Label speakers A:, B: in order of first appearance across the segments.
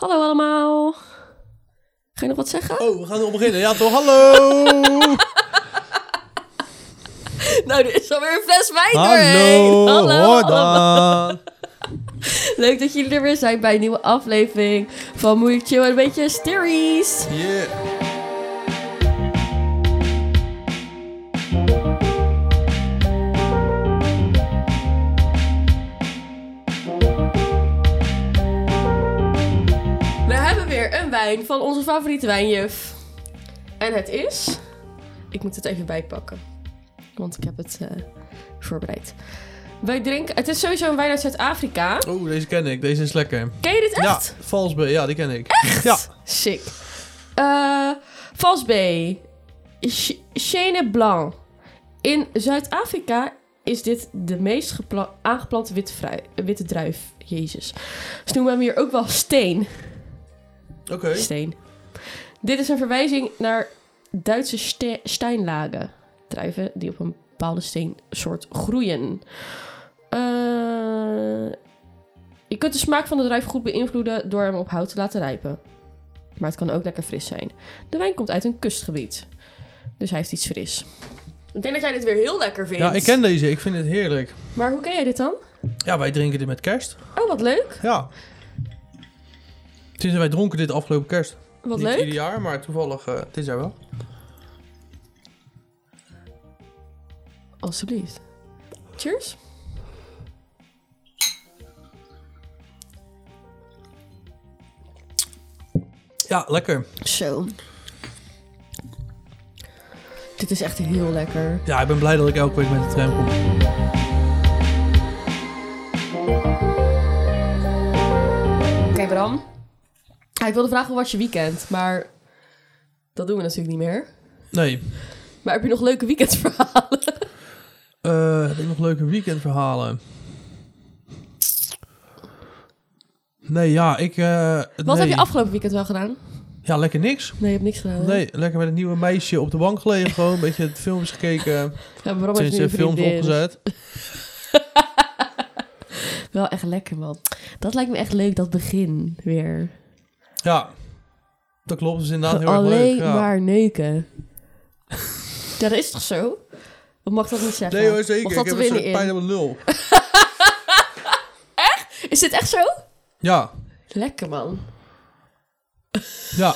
A: Hallo allemaal. Ga je nog wat zeggen?
B: Oh, we gaan erop beginnen. Ja, toch? Hallo!
A: Nou, er is alweer een fles wijn
B: Hallo!
A: doorheen.
B: Hoor
A: allemaal.
B: dan!
A: Leuk dat jullie er weer zijn bij een nieuwe aflevering van Moeilijk Chill en een beetje Sterries.
B: Yeah.
A: We hebben weer een wijn van onze favoriete wijnjuf. En het is... Ik moet het even bijpakken. Want ik heb het eh, voorbereid. Wij drinken... Het is sowieso een wijn uit Zuid-Afrika.
B: Oh, deze ken ik. Deze is lekker.
A: Ken je dit echt?
B: Ja, Valsbe. Ja, die ken ik. Echt? Ja.
A: Sick. Eh Vals B. Ch- Chenin Blanc. In Zuid-Afrika is dit de meest gepla- aangeplante witte, vrui- witte druif. Jezus. Ze noemen hem hier ook wel steen.
B: Oké.
A: Steen. Dit is een verwijzing naar Duitse ste steinlagen. Druiven die op een bepaalde steensoort groeien. Eh, je kunt de smaak van de druif goed beïnvloeden door hem op hout te laten rijpen. Maar het kan ook lekker fris zijn. De wijn komt uit een kustgebied. Dus hij heeft iets fris. Ik denk dat jij dit weer heel lekker vindt.
B: Ja, ik ken deze. Ik vind het heerlijk.
A: Maar hoe ken jij dit dan?
B: Ja, wij drinken dit met kerst.
A: Oh, wat leuk.
B: Ja. Sinds wij dronken dit afgelopen kerst.
A: Wat
B: Niet
A: leuk.
B: ieder jaar, maar toevallig eh dit jaar wel.
A: Alsjeblieft. Cheers.
B: Ja, lekker.
A: Zo. Dit is echt heel lekker.
B: Ja, ik ben blij dat ik elke week met de tram kom.
A: Oké, Bram. Ja, ik wilde vragen hoe was je weekend, maar dat doen we natuurlijk niet meer.
B: Nee.
A: Maar heb je nog leuke weekendverhalen?
B: Eh, heb ik nog leuke weekendverhalen? Nee, ja, ik... eh,
A: Wat
B: nee.
A: heb je afgelopen weekend wel gedaan?
B: Ja, lekker niks.
A: Nee, je hebt niks gedaan. hè?
B: Nee, lekker met een nieuwe meisje op de bank gelegen. Gewoon een beetje films gekeken.
A: Ja, Bram heeft
B: Sinds
A: nu een
B: de films
A: vriendin.
B: opgezet.
A: Wel echt lekker, man. Dat lijkt me echt leuk, dat begin weer.
B: Ja, dat klopt. Dat is inderdaad heel erg
A: Alleen
B: leuk. Ja.
A: maar neuken. ja, dat is toch zo? Wat mag dat niet zeggen?
B: Nee hoor, zeker.
A: Mag
B: Ik
A: dat
B: heb
A: er
B: een soort
A: binnen
B: pijn
A: in?
B: op mijn lul.
A: Is dit echt zo?
B: Ja,
A: Lekker, man.
B: ja.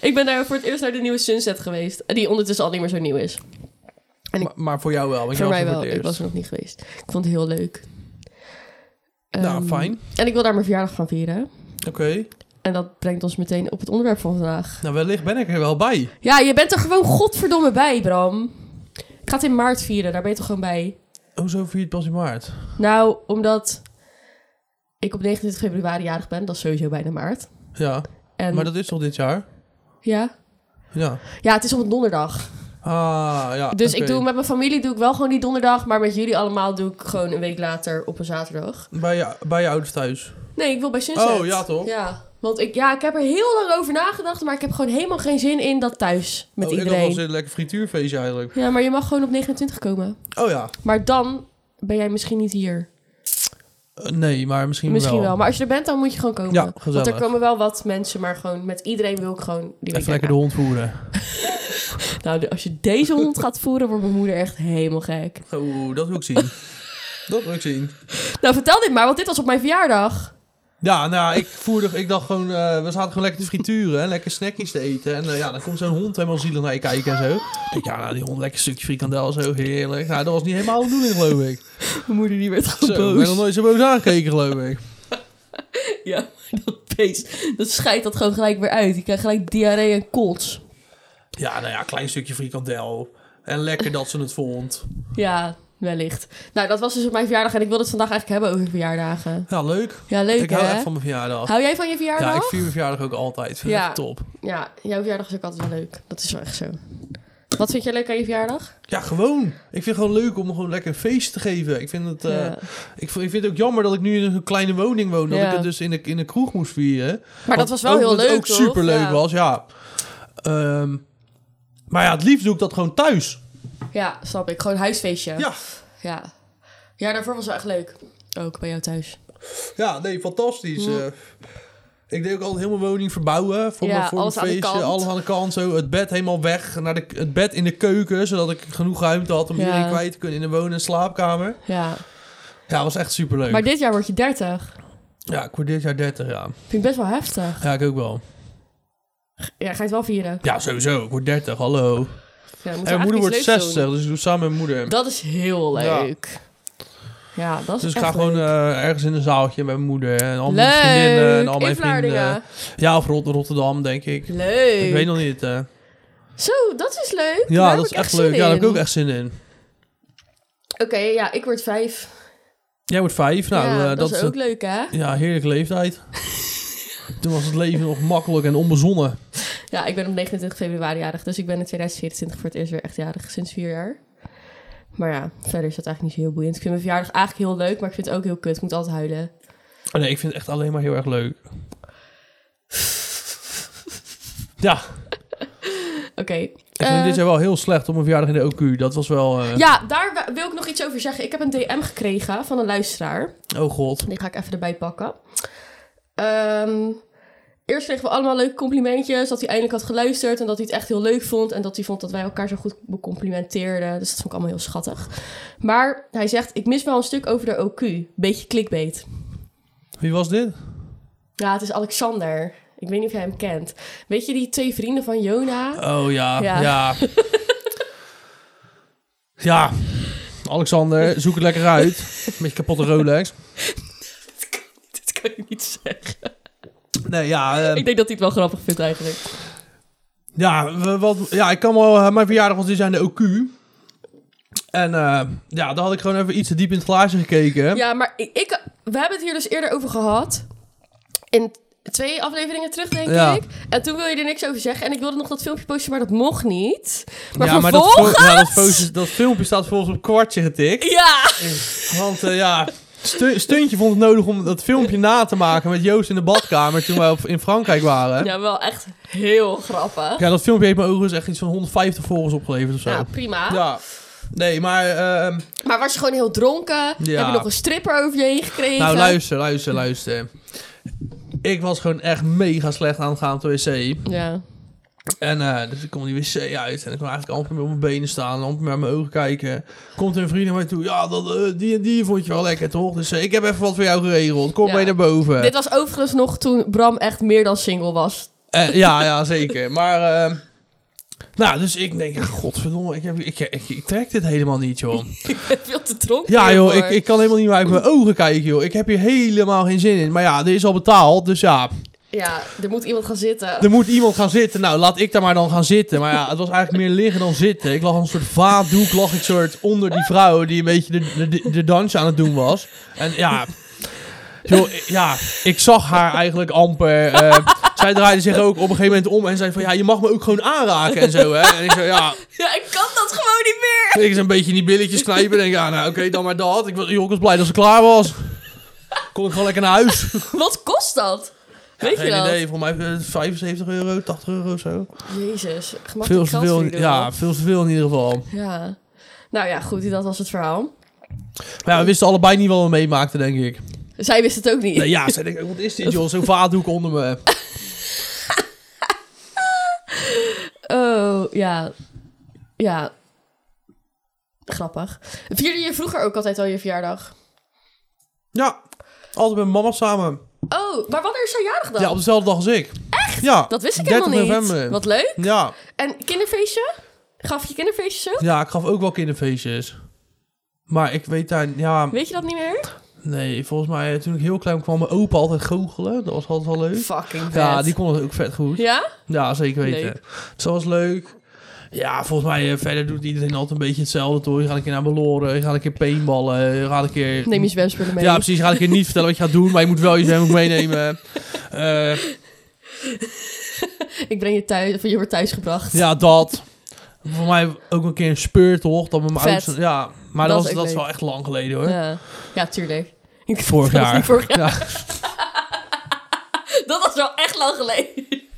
A: Ik ben daar voor het eerst naar de nieuwe Sunset geweest. Die ondertussen al niet meer zo nieuw is. En ik-
B: Maar, maar voor jou wel. want
A: voor mij
B: jij was er
A: wel.
B: het
A: Ik was
B: eerst.
A: er nog niet geweest. Ik vond het heel leuk.
B: Nou,
A: Ehm,
B: fijn.
A: En ik wil daar mijn verjaardag van vieren.
B: Oké.
A: En dat brengt ons meteen op het onderwerp van vandaag.
B: Nou, wellicht ben ik er wel bij.
A: Ja, je bent er gewoon godverdomme bij, Bram. Ik ga het in maart vieren. Daar ben je toch gewoon bij?
B: Hoezo vier je het pas in maart?
A: Nou, omdat ik op 29 februari jarig ben. Dat is sowieso bijna maart.
B: Ja,
A: En
B: maar dat is toch dit jaar?
A: ja.
B: Ja.
A: ja, het is op een donderdag.
B: Ah, ja.
A: Dus ik
B: oké.
A: doe met mijn familie doe ik wel gewoon die donderdag, maar met jullie allemaal doe ik gewoon een week later op een zaterdag.
B: Bij je, bij je ouders thuis.
A: Nee, ik wil bij Sunset.
B: Oh, ja, toch?
A: Ja, want ik, ja, ik heb er heel lang over nagedacht, maar ik heb gewoon helemaal geen zin in dat thuis met
B: oh, Ik had
A: iedereen.
B: wel een lekker frituurfeestje eigenlijk.
A: Ja, maar je mag gewoon op 29 komen.
B: Oh ja.
A: Maar dan ben jij misschien niet hier.
B: Eh, nee, maar misschien,
A: Misschien wel.
B: wel.
A: Maar als je er bent, dan moet je gewoon komen.
B: Ja, gezellig.
A: want er komen wel wat mensen, maar gewoon met iedereen wil ik gewoon die week
B: Even lekker de hond voeren.
A: daarna. Nou, de- als je deze hond gaat voeren, wordt mijn moeder echt helemaal gek.
B: Oeh, dat wil ik zien. dat wil ik zien.
A: Nou, vertel dit maar, want dit was op mijn verjaardag.
B: Ja, nou, ja, ik voerde, ik dacht gewoon, eh, we zaten gewoon lekker te frituren en lekker snackjes te eten. En eh, ja, dan komt zo'n hond helemaal zielig naar je kijken en zo. Ik denk, ja, nou, die hond lekker een stukje frikandel, zo heerlijk. Nou, dat was niet helemaal de bedoeling, geloof ik.
A: Mijn moeder die werd
B: Zo,
A: gewoon
B: ik
A: boos.
B: ben nog nooit zo boos aangekeken, geloof ik.
A: Ja, maar dat beest, dat scheidt dat gewoon gelijk weer uit. Je krijgt gelijk diarree en kots.
B: Ja, nou ja, klein stukje frikandel. En lekker dat ze het vond.
A: Ja, wellicht. Nou, dat was dus op mijn verjaardag en ik wilde het vandaag eigenlijk hebben over verjaardagen.
B: Ja, leuk.
A: Ja, leuk
B: ik
A: hè?
B: hou echt van mijn verjaardag.
A: Hou jij van je
B: Ja, ik
A: verjaardag? Ja,
B: vier mijn verjaardag ook altijd. Vind
A: Ja.
B: ik top.
A: jouw verjaardag is ook altijd wel leuk. Dat is wel echt zo. Wat vind jij leuk aan je verjaardag?
B: Ja, gewoon. Ik vind het gewoon leuk om gewoon lekker een feest te geven. Ik vind het... eh,
A: Ja.
B: Ik, v- ik vind het ook jammer dat ik nu in een kleine woning woon. Dat
A: Ja.
B: ik het dus in de, in de kroeg moest vieren.
A: Maar dat was wel heel
B: omdat
A: leuk,
B: Het ook
A: toch?
B: superleuk
A: Ja.
B: was, ja. Ehm, maar ja, het liefst doe ik dat gewoon thuis.
A: ja, snap ik. Gewoon een huisfeestje.
B: Ja.
A: Ja. Ja, daarvoor was het echt leuk. Ook bij jou thuis.
B: Ja, nee, fantastisch.
A: Ja.
B: eh. ik deed ook altijd helemaal mijn woning verbouwen. Voor,
A: Ja,
B: mijn, voor
A: alles
B: mijn
A: aan de
B: feestje,
A: kant.
B: alles aan de kant. Zo, het bed helemaal weg. Naar de, het bed in de keuken, zodat ik genoeg ruimte had om
A: Ja.
B: iedereen kwijt te kunnen in de wonen- en slaapkamer.
A: Ja.
B: Ja, was echt superleuk.
A: Maar dit jaar word je 30.
B: Ja, ik word dit jaar 30, ja.
A: Vind ik best wel heftig.
B: Ja, ik ook wel.
A: Ja, ga je het wel vieren.
B: Ja, sowieso. Ik word 30, hallo.
A: Ja,
B: En mijn moeder wordt 60, dus ik doe het samen met mijn moeder.
A: Dat is heel
B: Ja.
A: leuk. Ja, dat is
B: dus ik
A: echt
B: ga gewoon
A: leuk.
B: eh, ergens in een zaaltje met mijn moeder en al mijn
A: leuk.
B: vriendinnen en al
A: in
B: mijn vrienden.
A: Vlaardingen.
B: Ja, of Rot- Rotterdam, denk ik.
A: Leuk.
B: Ik weet nog niet. eh.
A: Zo, dat is leuk. Daar
B: Ja,
A: heb
B: dat is
A: ik
B: echt
A: zin
B: leuk. Ja, daar heb ik
A: in.
B: ook echt zin in.
A: Oké, ja, ik word vijf.
B: Jij wordt vijf, nou,
A: ja,
B: eh,
A: dat, is ook
B: een-
A: leuk, hè?
B: Ja, heerlijke leeftijd. Toen was het leven nog makkelijk en onbezonnen.
A: Ja, ik ben op 29 februari jarig, dus ik ben in 2024 voor het eerst weer echt jarig, sinds vier jaar. Maar ja, verder is dat eigenlijk niet zo heel boeiend. Ik vind mijn verjaardag eigenlijk heel leuk, maar ik vind het ook heel kut. Ik moet altijd huilen.
B: Oh, nee, ik vind het echt alleen maar heel erg leuk. Ja,
A: Oké.
B: ik vind
A: eh,
B: dit jaar wel heel slecht op mijn verjaardag in de OQ. Dat was wel... eh,
A: ja, daar wa- wil ik nog iets over zeggen. Ik heb een DM gekregen van een luisteraar.
B: Oh god.
A: Die ga ik even erbij pakken. Ehm, eerst kregen we allemaal leuke complimentjes. Dat hij eindelijk had geluisterd en dat hij het echt heel leuk vond. En dat hij vond dat wij elkaar zo goed becomplimenteerden. Dus dat vond ik allemaal heel schattig. Maar hij zegt, ik mis wel een stuk over de OQ. Beetje clickbait.
B: Wie was dit?
A: Ja, het is Alexander. Ik weet niet of jij hem kent. Weet je die twee vrienden van Jona?
B: Oh ja,
A: Ja.
B: ja. Ja. Alexander, zoek het lekker uit. Met je kapotte Rolex.
A: Dat kan ik niet zeggen.
B: Nee, ja... eh,
A: Ik denk dat hij het wel grappig vindt eigenlijk.
B: Ja, we- wat, ja ik kan wel. eh, Mijn verjaardag was dit jaar in de OQ. En eh, ja, daar had ik gewoon even iets te diep in het glaasje gekeken.
A: Ja, maar ik, ik- we hebben het hier dus eerder over gehad. In twee afleveringen terug, denk
B: Ja.
A: ik. En toen wil je er niks over zeggen. En ik wilde nog dat filmpje posten, maar dat mocht niet. Maar
B: Ja, maar dat,
A: vervolgens...
B: fo- ja, dat, fo- dat filmpje staat volgens op kwartje getikt.
A: Ja!
B: Want eh, ja, Stu- Stuntje vond het nodig om dat filmpje na te maken met Joost in de badkamer toen wij op, in Frankrijk waren. Ja.
A: Ja, wel echt heel grappig.
B: dat filmpje heeft me overigens echt iets van 150 volgers opgeleverd of zo.
A: Ja,
B: Ja.
A: prima.
B: Nee, maar... ehm,
A: Maar was je gewoon heel dronken?
B: Ja.
A: Heb je nog een stripper over je heen gekregen?
B: nou, luister, luister, luister. Ik was gewoon echt mega slecht aan het gaan op de wc.
A: Ja.
B: En eh, dus ik kom die wc uit en ik kon eigenlijk amper meer op mijn benen staan, amper meer aan mijn ogen kijken. Komt een vriend naar mij toe, ja, dat, eh, die en die vond je wel lekker toch? Dus eh, ik heb even wat voor jou geregeld, kom
A: Ja.
B: mee naar boven.
A: Dit was overigens nog toen Bram echt meer dan single was.
B: Eh, ja, ja, zeker. Maar, eh, nou, dus ik denk, ja, godverdomme, ik, heb, ik, ik, ik trek dit helemaal niet, joh.
A: Veel te dronken.
B: Ja, joh, ik,
A: hiervoor.
B: ik kan helemaal niet meer uit mijn ogen kijken, joh. Ik heb hier helemaal geen zin in. Maar ja, er is al betaald, dus ja,
A: Ja, er moet iemand gaan zitten.
B: Er moet iemand gaan zitten. Nou, laat ik daar maar dan gaan zitten. Maar ja, het was eigenlijk meer liggen dan zitten. Ik lag als een soort vaatdoek, lag ik soort onder die vrouw die een beetje de, de, de dans aan het doen was. En ja, joh, ik- ja ik zag haar eigenlijk amper. eh, zij draaide zich ook op een gegeven moment om en zei van, ja, je mag me ook gewoon aanraken en zo, hè. En ik zei, ja,
A: Ja, ik kan dat gewoon niet meer.
B: ik eens een beetje in die billetjes knijpen. En denk, ja, nou, oké, dan maar dat. Ik was, joh, ik was blij dat ze klaar was. Kon ik gewoon lekker naar huis.
A: Wat kost dat? Weet je
B: Geen
A: dat?
B: idee, volgens mij eh, 75 euro, 80 euro of zo.
A: Jezus,
B: Veel
A: gemakkelijk
B: te
A: geld
B: veel,
A: verdienen.
B: ja, veel te veel in ieder geval.
A: ja. Nou ja, goed, dat was het verhaal.
B: Maar ja, we wisten allebei niet wat we meemaakten, denk ik.
A: Zij wist het ook niet.
B: Nee, ja, zei ik, wat is dit, joh? Zo'n vaatdoek onder me.
A: Oh, ja. Ja. Grappig. Vierde je vroeger ook altijd al je verjaardag?
B: Ja, altijd met mama samen.
A: Oh, maar wanneer is jouw jarig dan?
B: Ja, op dezelfde dag als ik. Echt? Ja.
A: dat wist ik
B: 30
A: helemaal niet.
B: november.
A: Wat leuk.
B: Ja.
A: En kinderfeestje? Gaf je kinderfeestjes ook?
B: ja, ik gaf ook wel kinderfeestjes. Maar ik weet daar, ja,
A: Weet je dat niet meer?
B: nee, volgens mij eh, toen ik heel klein kwam, mijn opa altijd goochelen. Dat was altijd wel leuk.
A: Fucking vet.
B: Ja, die kon het ook vet goed.
A: Ja?
B: Ja, zeker weten.
A: Leuk.
B: Dus dat was leuk. Ja, volgens mij eh, verder doet iedereen altijd een beetje hetzelfde, toch? Je gaat een keer naar Beloren, je gaat een keer paintballen, je gaat een keer...
A: Neem je zwemspullen mee.
B: Ja, precies. Je gaat een keer niet vertellen wat je gaat doen, maar je moet wel je zwemboek meenemen. Eh,
A: ik breng je thuis, of je wordt thuisgebracht.
B: ja, dat. Voor mij ook een keer een speurtocht. Dat met mijn
A: Vet.
B: ouders, ja, maar
A: Dat
B: dat,
A: is ook
B: was, dat is
A: leuk.
B: wel echt lang geleden hoor.
A: Ja, ja tuurlijk.
B: Vorig
A: Dat was niet
B: jaar.
A: vorig
B: Ja.
A: Dat was wel echt lang geleden.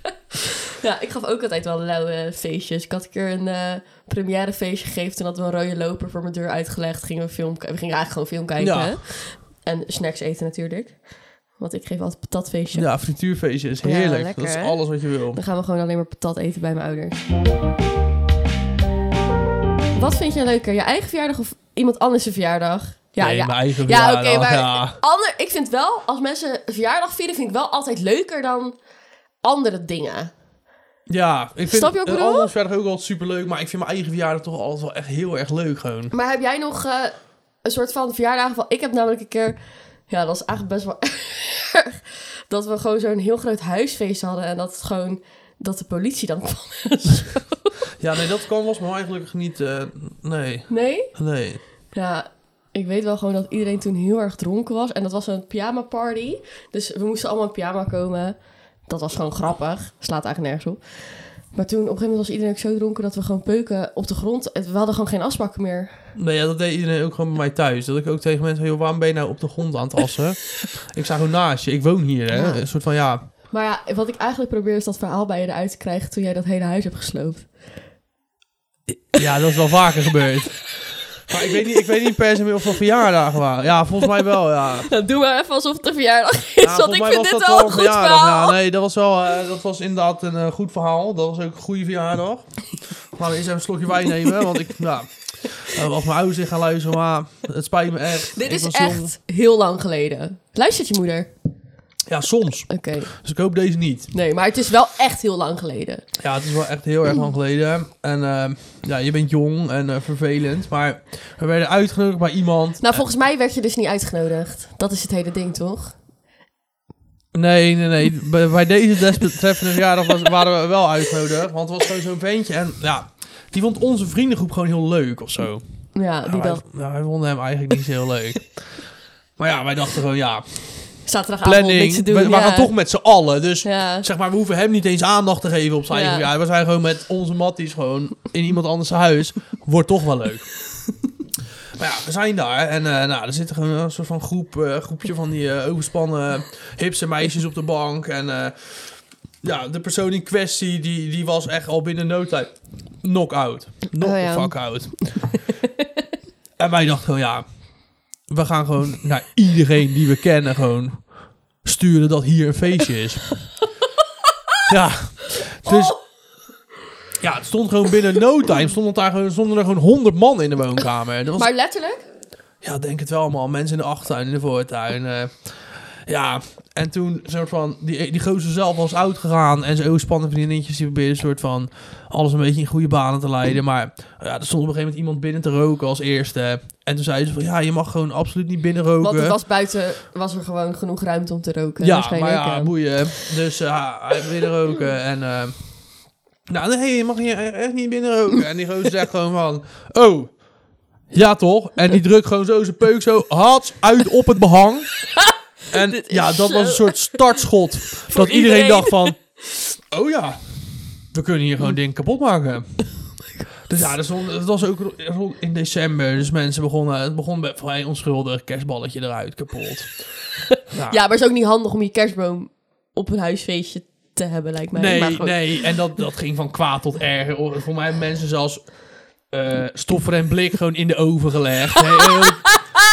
A: Ja, ik gaf ook altijd wel lauwe feestjes. Ik had een keer een eh premièrefeestje gegeven. Toen hadden we een rode loper voor mijn deur uitgelegd. Gingen we, film, we gingen eigenlijk gewoon film kijken.
B: Ja.
A: En snacks eten natuurlijk. Want ik geef altijd patatfeestje.
B: Ja, frituurfeestje is
A: Ja,
B: heerlijk.
C: lekker,
B: dat is
C: hè?
B: alles wat je wil.
A: Dan gaan we gewoon alleen maar patat eten bij mijn ouders. Wat vind je leuker? Je eigen verjaardag of iemand anders zijn verjaardag? Ja,
B: nee,
A: ja.
B: mijn eigen
A: Ja, oké,
B: verjaardag,
A: maar-
B: ja.
A: Ander, ik vind wel, als mensen een verjaardag vieren, vind ik wel altijd leuker dan andere dingen.
B: Ja, ik vind
A: Snap je wat ik
B: een
A: bedoel?
B: andere verjaardag ook altijd superleuk. Maar ik vind mijn eigen verjaardag toch altijd wel echt heel erg leuk gewoon.
A: Maar heb jij nog eh, een soort van verjaardag? van- Ik heb namelijk een keer... Ja, dat is eigenlijk best wel erg. Dat we gewoon zo'n heel groot huisfeest hadden. En dat het gewoon... Dat de politie dan kwam.
B: Ja, nee, dat kan was me eigenlijk niet... eh, nee,
A: Nee?
B: nee.
A: Ja, ik weet wel gewoon dat iedereen toen heel erg dronken was. En dat was een pyjama party. Dus we moesten allemaal in pyjama komen. Dat was gewoon grappig. Slaat eigenlijk nergens op. Maar toen op een gegeven moment was iedereen ook zo dronken dat we gewoon peuken op de grond. Het- We hadden gewoon geen afspraken meer.
B: Nee, ja, dat deed iedereen ook gewoon bij mij thuis. Dat ik ook tegen mensen... Joh, waarom ben je nou op de grond aan het assen? ik sta gewoon naast je. Ik woon hier, hè.
A: Ja.
B: Een soort van, ja...
A: Maar ja, wat ik eigenlijk probeer is dat verhaal bij je eruit te krijgen toen jij dat hele huis hebt gesloopt.
B: Ja, dat is wel vaker gebeurd. Maar ik weet niet, ik weet niet per se meer of dat verjaardagen waren. Ja, volgens mij wel, ja.
A: Nou, doe maar even alsof het een verjaardag is,
B: Ja,
A: want
B: volgens
A: ik
B: mij
A: vind
B: was
A: dit
B: dat
A: wel een goed
B: verjaardag.
A: verhaal.
B: Ja, nee, dat was wel, eh, dat was inderdaad een eh, goed verhaal. Dat was ook een goede verjaardag. We gaan eerst even een slokje wijn nemen, want ik, nou, eh, als mijn ouders dit gaan luisteren, maar het spijt me echt.
A: Dit
B: nou, Ik
A: is
B: was jong.
A: echt heel lang geleden. Luistert je moeder?
B: Ja, soms.
A: Oké.
B: Dus ik hoop deze niet.
A: Nee, maar het is wel echt heel lang geleden.
B: Ja, het is wel echt heel erg lang geleden. En eh, ja, je bent jong en eh, vervelend, maar we werden uitgenodigd bij iemand.
A: Nou, volgens mij werd je dus niet uitgenodigd. Dat is het hele ding, toch?
B: Nee, nee, nee. Bij, bij deze desbetreffende verjaardag was, waren we wel uitgenodigd. Want het was gewoon zo'n ventje. En ja, die vond onze vriendengroep gewoon heel leuk of zo.
A: Ja, die
B: Nou, wij,
A: dat.
B: nou, wij vonden hem eigenlijk niet zo heel leuk. Maar ja, wij dachten gewoon, ja,
A: Zaterdagavond niks
B: planning.
A: te
B: We,
A: doen.
B: we
A: ja.
B: gaan toch met z'n allen. Dus
A: Ja.
B: zeg maar, we hoeven hem niet eens aandacht te geven op zijn
A: Ja.
B: eigen verjaardag. We zijn gewoon met onze matties gewoon in iemand anders huis. Wordt toch wel leuk. Maar ja, we zijn daar en eh nou, er zitten gewoon een soort van groep, eh, groepje van die eh, overspannen hipse meisjes op de bank. En eh, ja, de persoon in kwestie, die, die was echt al binnen no time knock-out. Knock
A: Oh ja.
B: the fuck out. en wij dachten gewoon, ja, we gaan gewoon naar iedereen die we kennen gewoon sturen dat hier een feestje is. ja, dus...
A: Oh.
B: Ja, het stond gewoon binnen no time. Stonden, daar gewoon, stonden er gewoon 100 man in de woonkamer. Dat was,
A: Maar letterlijk?
B: Ja, denk het wel allemaal. Mensen in de achtertuin, in de voortuin. eh. ja, en toen soort van... Die, die gozer zelf was oud gegaan. En zijn oogspannen vriendinnetjes die probeerden soort van... Alles een beetje in goede banen te leiden. Maar ja, er stond op een gegeven moment iemand binnen te roken als eerste. En toen zeiden ze van... Ja, je mag gewoon absoluut niet binnen roken.
A: Want het was buiten, was er gewoon genoeg ruimte om te roken.
B: Ja, maar
A: waarschijnlijk.
B: ja, boeien. Dus eh, hij wil binnen roken en... eh, nou, nee, je mag hier e- echt niet binnen roken. En die gozer zegt gewoon van... Oh, ja toch? En die drukt gewoon zo zijn peuk zo hats uit op het behang. En
A: Dit is
B: ja, dat
A: zo-
B: was een soort startschot. dat iedereen,
A: iedereen.
B: dacht van... Oh ja, we kunnen hier gewoon dingen kapot
A: Oh
B: maken. Dus ja, dat, stond- dat was ook ro- rond in december. Dus mensen begonnen... Het begon bij vrij onschuldig. Kerstballetje eruit, kapot.
A: ja, maar het is ook niet handig om je kerstboom op een huisfeestje te hebben, lijkt mij.
B: Nee,
A: maar goed.
B: nee. En dat, dat ging van kwaad tot erger. O, Voor mij hebben mensen zelfs eh stoffer en blik gewoon in de oven gelegd. Hey, eh,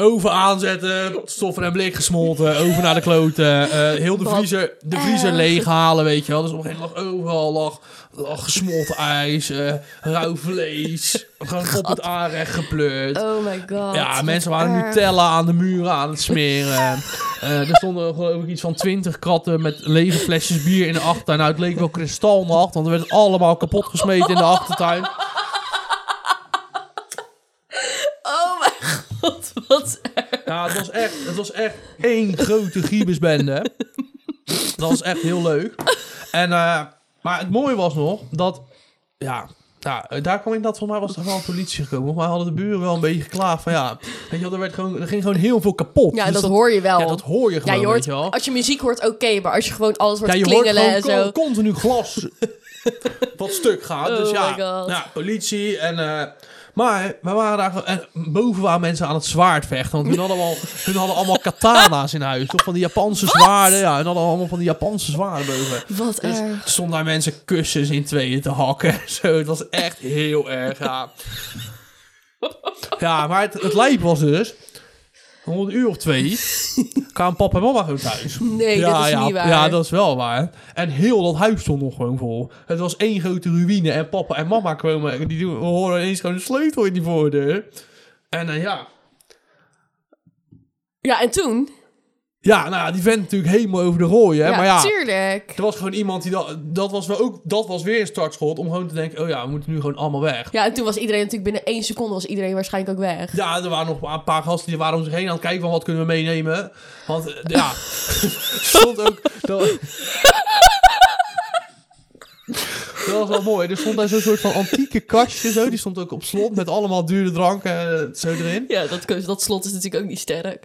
B: oven aanzetten, stoffer en blik gesmolten, oven naar de kloten. eh, heel de
A: Wat
B: vriezer, de vriezer
A: erg.
B: leeghalen, weet je wel. Dus op een gegeven moment lag overal lag, lag gesmolten ijs, eh, rauw vlees. gewoon op het aanrecht gepleurd.
A: Oh my god.
B: Ja,
A: wat
B: mensen waren
A: erg.
B: Nutella aan de muren aan het smeren. Eh, er stonden geloof ik iets van twintig kratten met lege flesjes bier in de achtertuin. Nou, het leek wel kristalnacht, want er werd het allemaal kapot gesmeten in de achtertuin.
A: Oh mijn god, wat erg.
B: Ja, het was echt, het was echt één grote giebesbende. Dat was echt heel leuk. En, eh, maar het mooie was nog dat, ja, nou, daar kwam ik dat, volgens mij was er wel politie gekomen. Volgens mij hadden de buren wel een beetje geklaagd van, ja, weet je wel, er, werd gewoon, er ging gewoon heel veel kapot.
A: Ja,
B: Dus
A: dat, hoor je wel.
B: Ja, dat hoor je
A: Ja,
B: gewoon,
A: je hoort,
B: weet je wel.
A: als je muziek hoort, oké, maar als je gewoon alles hoort
B: Ja, je hoort
A: klingelen
B: gewoon
A: en zo.
B: con- continu glas wat stuk gaat.
A: Oh
B: dus ja,
A: my God.
B: ja, politie en... eh, Maar we waren daar... En boven waren mensen aan het zwaard vechten. Want hun hadden, al, hun hadden allemaal katana's in huis. Toch van die Japanse zwaarden. Ja, hun hadden allemaal van die Japanse zwaarden boven.
A: Wat
B: Dus
A: erg.
B: stonden daar mensen kussens in tweeën te hakken. en Zo, het was echt heel erg, ja. Ja, maar het, het lijp was dus... Om een uur of twee kwamen papa en mama gewoon thuis.
A: Nee, dat is
B: ja,
A: niet waar.
B: Ja, dat is wel waar. En heel dat huis stond nog gewoon vol. Het was één grote ruïne. En papa en mama kwamen... en Die doen- we horen ineens gewoon een sleutel in die voordeur. En eh, ja...
A: Ja, en toen?
B: Ja, nou, die vent natuurlijk helemaal over de rooi, hè.
A: ja,
B: maar ja,
A: tuurlijk.
B: er was gewoon iemand die... Dat, dat was wel ook... Dat was weer een startschot om gewoon te denken... Oh ja, we moeten nu gewoon allemaal weg.
A: Ja, en toen was iedereen natuurlijk binnen één seconde was iedereen waarschijnlijk ook weg.
B: Ja, er waren nog een paar gasten die waren om zich heen aan het kijken van wat kunnen we meenemen. Want eh, ja, stond ook... Dat, dat was wel mooi. Er stond daar zo'n soort van antieke kastje zo. Die stond ook op slot met allemaal dure dranken eh, zo erin.
A: Ja, dat, keus- dat slot is natuurlijk ook niet sterk.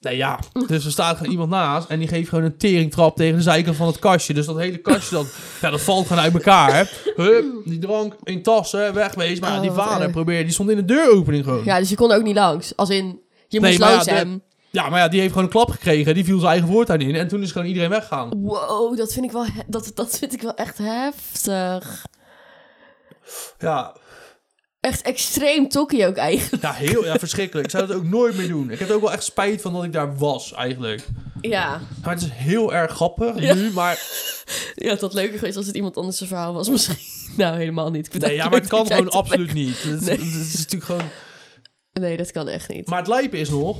B: Nee, ja. Dus er staat gewoon iemand naast en die geeft gewoon een teringtrap tegen de zijkant van het kastje. Dus dat hele kastje, dat, ja, dat valt gewoon uit elkaar. Hup, die drank in tassen, wegwezen. Maar ja, die
A: Oh, wat
B: vader
A: erg.
B: probeerde, die stond in de deuropening gewoon.
A: Ja, dus je kon er ook niet langs. Als in, je
B: Nee,
A: moest
B: maar ja,
A: langs
B: de-
A: hem.
B: Ja, maar ja, die heeft gewoon een klap gekregen. Die viel zijn eigen voortuin in. En toen is gewoon iedereen weggegaan.
A: Wow, dat vind ik wel, he- dat, dat vind ik wel echt heftig.
B: Ja,
A: Echt extreem tokkie ook eigenlijk.
B: ja heel ja, verschrikkelijk. Ik zou dat ook nooit meer doen. Ik heb er ook wel echt spijt van dat ik daar was, eigenlijk.
A: Ja,
B: Maar het is heel erg grappig
A: Ja.
B: nu, maar...
A: ja het had leuker geweest als het iemand anders zijn verhaal was misschien. Nou, helemaal niet. Ik vind
B: Nee, ja, maar het kan
A: leuk dat jij
B: gewoon absoluut niet. Het, is-
A: Nee.
B: het is natuurlijk gewoon...
A: Nee, dat kan echt niet.
B: Maar het lijpen is nog...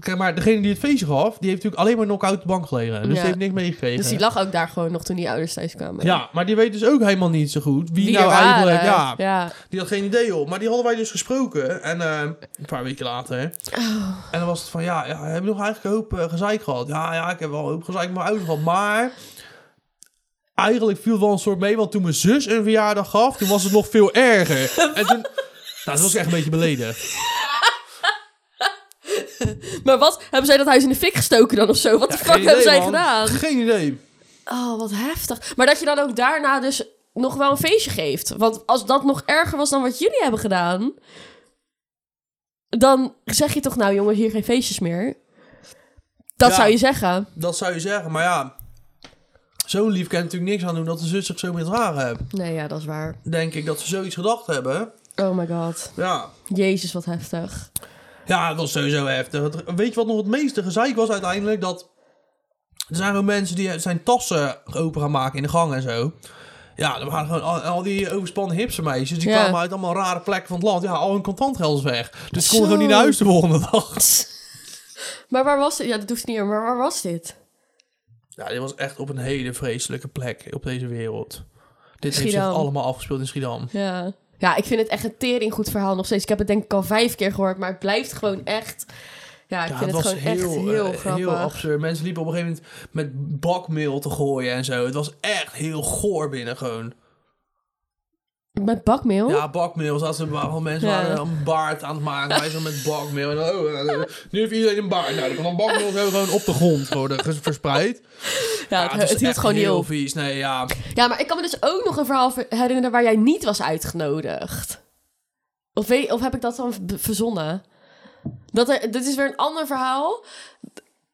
B: Kijk, maar degene die het feestje gaf, die heeft natuurlijk alleen maar knock-out de bank gelegen.
A: Ja.
B: Dus die heeft niks meegekregen.
A: Dus die lag ook daar gewoon nog toen die ouders thuis kwamen.
B: ja, maar die weet dus ook helemaal niet zo goed wie,
A: Die
B: nou
A: er waren.
B: eigenlijk... Ja,
A: ja.
B: Die had geen idee op. Maar die hadden wij dus gesproken. En eh, een paar weken later.
A: Oh.
B: En dan was het van, ja, ja heb je nog eigenlijk een hoop eh, gezeik gehad? Ja, ja, ik heb wel een hoop gezeik met mijn ouders gehad. Maar eigenlijk viel het wel een soort mee. Want toen mijn zus een verjaardag gaf, toen was het nog veel erger. En toen... Nou, dat was ik echt een beetje beledigd.
A: Maar wat? Hebben zij dat huis in de fik gestoken dan of zo? Wat de
B: Ja,
A: fuck
B: geen
A: hebben
B: idee,
A: zij
B: man.
A: gedaan?
B: Geen idee.
A: Oh, wat heftig. Maar dat je dan ook daarna dus nog wel een feestje geeft. Want als dat nog erger was dan wat jullie hebben gedaan... dan zeg je toch nou jongens, hier geen feestjes meer. Dat
B: Ja.
A: zou je zeggen.
B: Dat zou je zeggen. Maar ja, zo'n lief kan natuurlijk niks aan doen dat de zus zich zo misdragen heeft.
A: Nee, ja, dat is waar.
B: Denk ik dat ze zoiets gedacht hebben.
A: Oh my god.
B: Ja,
A: Jezus, wat heftig.
B: Ja, dat was sowieso heftig. Het- Weet je wat nog het meeste gezeik was uiteindelijk? Dat er zijn gewoon mensen die zijn tassen open gaan maken in de gang en zo. Ja, er waren gewoon al, al die overspannen hipse meisjes. Die
A: Ja.
B: kwamen uit allemaal rare plekken van het land. Ja, al hun contantgeld is weg. Dus ze
A: Zo.
B: konden gewoon niet naar huis de volgende dag.
A: Maar waar was dit? Ja, dat hoeft niet meer. Maar waar was dit?
B: Ja, dit was echt op een hele vreselijke plek op deze wereld. Dit heeft zich
A: Schiedam.
B: allemaal afgespeeld in Schiedam.
A: Ja. Ja, ik vind het echt een tering goed verhaal nog steeds. Ik heb het denk ik al vijf keer gehoord, maar het blijft gewoon echt... Ja, ik
B: Ja,
A: vind het,
B: het was
A: gewoon echt
B: heel,
A: heel
B: eh,
A: grappig.
B: heel absurd. Mensen liepen op een gegeven moment met bakmeel te gooien en zo. Het was echt heel goor binnen gewoon.
A: Met bakmeel?
B: Ja, bakmeel. Zoals ze waren mensen
A: Ja.
B: waren een baard aan het maken. Wij zijn met bakmeel. En, oh, eh, nu heeft iedereen een baard. Nou, dan kan dan bakmeel zo gewoon op de grond worden ges- verspreid.
A: Ja, het, het
B: was
A: hield
B: Ah, dus echt
A: gewoon niet
B: heel
A: op.
B: vies. Nee, ja.
A: Ja, maar ik kan me dus ook nog een verhaal ver- herinneren waar jij niet was uitgenodigd. Of, weet, of heb ik dat dan v- verzonnen? Dat er, dit is weer een ander verhaal.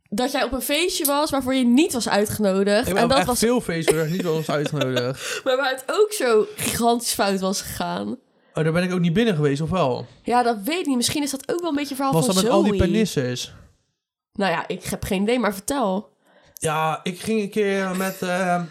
A: Dat jij op een feestje was waarvoor je niet was uitgenodigd.
B: Ik
A: en
B: heb
A: dat
B: echt
A: was,
B: veel feesten waar ik niet wel eens uitgenodigd.
A: maar waar het ook zo gigantisch fout was gegaan.
B: Oh, daar ben ik ook niet binnen geweest, of wel?
A: Ja, dat weet ik niet. Misschien is dat ook wel een beetje een verhaal
B: Was
A: van
B: dat met al die
A: Zoe.
B: penisses?
A: Nou ja, ik heb geen idee, maar vertel.
B: Ja, ik ging een keer met... eh,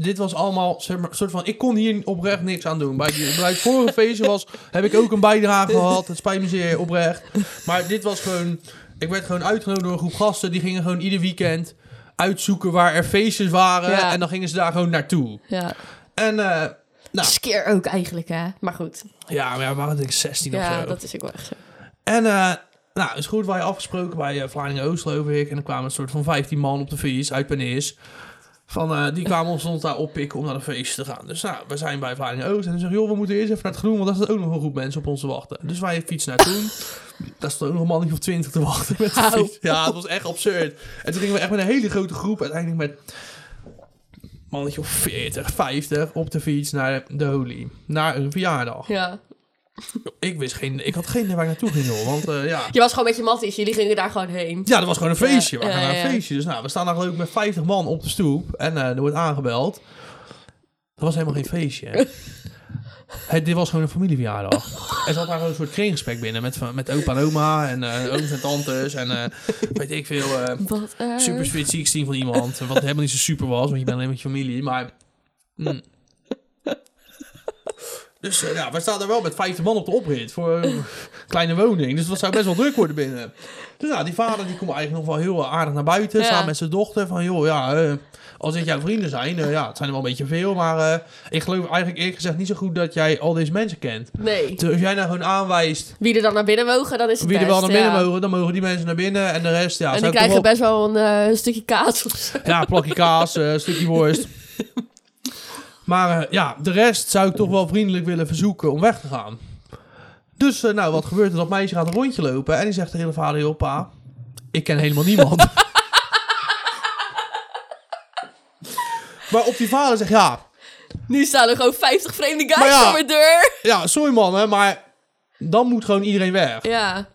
B: dit was allemaal zeg maar, soort van... Ik kon hier oprecht niks aan doen. Bij, die, bij het vorige feestje was, heb ik ook een bijdrage gehad. Het spijt me zeer, oprecht. Maar dit was gewoon... Ik werd gewoon uitgenodigd door een groep gasten. Die gingen gewoon ieder weekend uitzoeken waar er feestjes waren.
A: Ja.
B: En dan gingen ze daar gewoon naartoe.
A: Ja.
B: En eh, Nou.
A: Skeer ook eigenlijk, hè. Maar goed.
B: ja, maar we waren denk ik 16 of
A: Ja,
B: zo.
A: dat is ook wel echt zo.
B: En eh, nou, is goed, wij afgesproken bij eh Vlaardingen Oost, geloof ik. En er kwamen een soort van 15 man op de fiets uit Penis. Van, eh, die kwamen ons ons daar oppikken om naar een feest te gaan. Dus nou, we zijn bij Vlaardingen Oost. En ze zeggen, joh, we moeten eerst even naar het groen, want daar staat ook nog een groep mensen op ons te wachten. Dus wij fietsen naartoe. daar stond ook nog een mannetje of 20 te wachten met de
A: Au.
B: fiets. Ja, het was echt absurd. En toen gingen we echt met een hele grote groep, uiteindelijk met een mannetje of 40, 50 op de fiets naar de Holy. Naar een verjaardag.
A: Ja.
B: Ik wist geen... Ik had geen idee waar ik naartoe ging, joh. Want eh, ja...
A: Je was gewoon met je matties. Jullie gingen daar gewoon heen.
B: Ja, dat was gewoon een feestje.
A: Ja,
B: we gaan
A: ja,
B: naar
A: ja.
B: een feestje. Dus nou, we staan daar geloof ik met 50 man op de stoep. En eh, er wordt aangebeld. Dat was helemaal geen feestje. Het, dit was gewoon een familieverjaardag. Er zat daar gewoon een soort kringgesprek binnen met, met opa en oma en eh, ooms en tantes. En eh, weet ik veel, eh
A: Wat erg.
B: super sweet 16 van iemand. Wat helemaal niet zo super was, want je bent alleen met je familie. Maar... mm. Dus eh, ja, we staan daar wel met 50 man op de oprit voor een kleine woning. Dus dat zou best wel druk worden binnen. Dus nou, die vader die komt eigenlijk nog wel heel eh, aardig naar buiten.
A: Ja.
B: Samen met zijn dochter. Van joh, ja, eh, als dit jouw vrienden zijn, eh, ja, het zijn er wel een beetje veel. Maar eh, ik geloof eigenlijk eerlijk gezegd niet zo goed dat jij al deze mensen kent.
A: Nee.
B: Dus als jij nou gewoon aanwijst
A: Wie er dan naar binnen mogen, dan is het
B: wie er
A: best,
B: wel naar binnen
A: ja.
B: mogen, dan mogen die mensen naar binnen. En de rest, ja,
A: en
B: zou
A: die
B: ik toch
A: krijgen
B: wel-
A: best wel een eh, stukje kaas of zo.
B: ja, plakje kaas, eh, stukje worst. Maar eh, ja, de rest zou ik toch wel vriendelijk willen verzoeken om weg te gaan. Dus eh, nou, wat gebeurt er? Dat meisje gaat een rondje lopen en die zegt tegen de vader, joh pa, ik ken helemaal niemand. maar op die vader zegt, ja,
A: Nu staan er gewoon 50 vreemde guys
B: Maar ja.
A: voor mijn deur.
B: ja, sorry man, hè, maar dan moet gewoon iedereen weg.
A: Ja.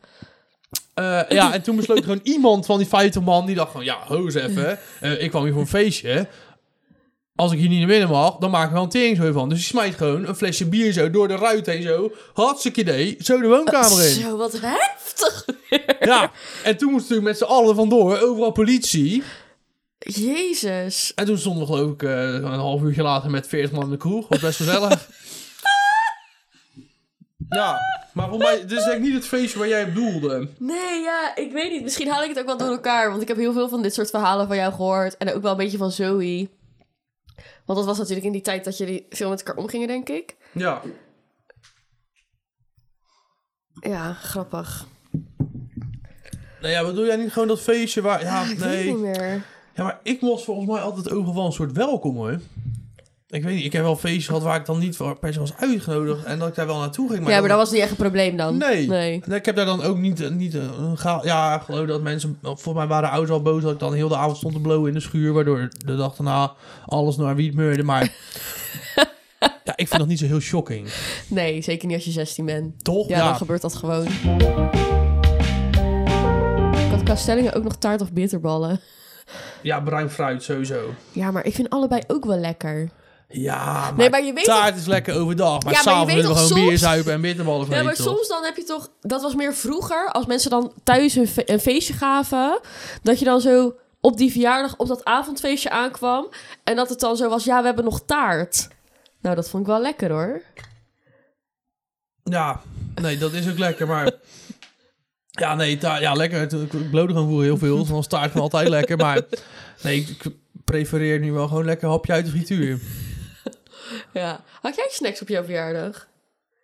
B: Eh, ja, en toen besloot gewoon iemand van die 50 man, die dacht van, ja, hoes even, eh, ik kwam hier voor een feestje. Als ik hier niet naar binnen mag, dan maak ik wel een tering zo van. Dus die smijt gewoon een flesje bier zo door de ruit heen zo. Hartstikke idee, zo de woonkamer in.
A: Zo, wat heftig.
B: Ja, en toen moesten we met z'n allen vandoor, overal politie.
A: Jezus.
B: En toen stonden we geloof ik eh, een half uurtje later met 40 man in de kroeg. Was best gezellig. Ja, maar voor mij, dit is denk ik niet het feestje waar jij op doelde.
A: Nee, ja, ik weet niet. Misschien haal ik het ook wel door elkaar. Want ik heb heel veel van dit soort verhalen van jou gehoord. En ook wel een beetje van Zoe. Want dat was natuurlijk in die tijd dat jullie veel met elkaar omgingen, denk ik.
B: Ja.
A: Ja, grappig.
B: Nou ja, bedoel jij niet gewoon dat feestje waar... Ja,
A: Ah, Ik weet
B: nee.
A: het niet meer.
B: Ja, maar ik was volgens mij altijd overal een soort welkom hoor. Ik weet niet, ik heb wel feestjes gehad waar ik dan niet voor per se was uitgenodigd en dat ik daar wel naartoe ging. Maar
A: ja, maar dat
B: dan-
A: was niet echt een probleem dan.
B: Nee.
A: Nee.
B: Nee, Ik heb daar dan ook niet, niet een gaal... Ja, ik geloof dat mensen... Volgens mij waren de ouders al boos dat ik dan heel de avond stond te blowen in de schuur. Waardoor de dag daarna alles naar wiet meurde. Maar ja, ik vind dat niet zo heel shocking.
A: Nee, zeker niet als je 16 bent.
B: Toch?
A: Ja, dan gebeurt dat gewoon. Ik had qua stellingen ook nog taart of bitterballen.
B: ja, bruin fruit sowieso.
A: Ja, maar ik vind allebei ook wel lekker.
B: Ja, maar,
A: Nee, maar je weet
B: taart is lekker overdag. Maar
A: Ja, maar je
B: s'avonds
A: weet
B: willen we
A: toch
B: gewoon bier
A: soms-
B: zuipen en bitterballen
A: Ja,
B: vreten.
A: maar
B: toch?
A: soms dan heb je toch... Dat was meer vroeger, als mensen dan thuis een, fe- een feestje gaven... dat je dan zo op die verjaardag op dat avondfeestje aankwam... en dat het dan zo was, ja, we hebben nog taart. Nou, dat vond ik wel lekker, hoor.
B: Ja, nee, dat is ook lekker, maar... Ja, nee, taart, ja, lekker. Ik- Ik ik blode gewoon vroeger heel veel, dus dan was taart gewoon altijd lekker. Maar nee, ik ik prefereer nu wel gewoon lekker hapje uit de frituur.
A: Ja. Had jij snacks op jouw verjaardag?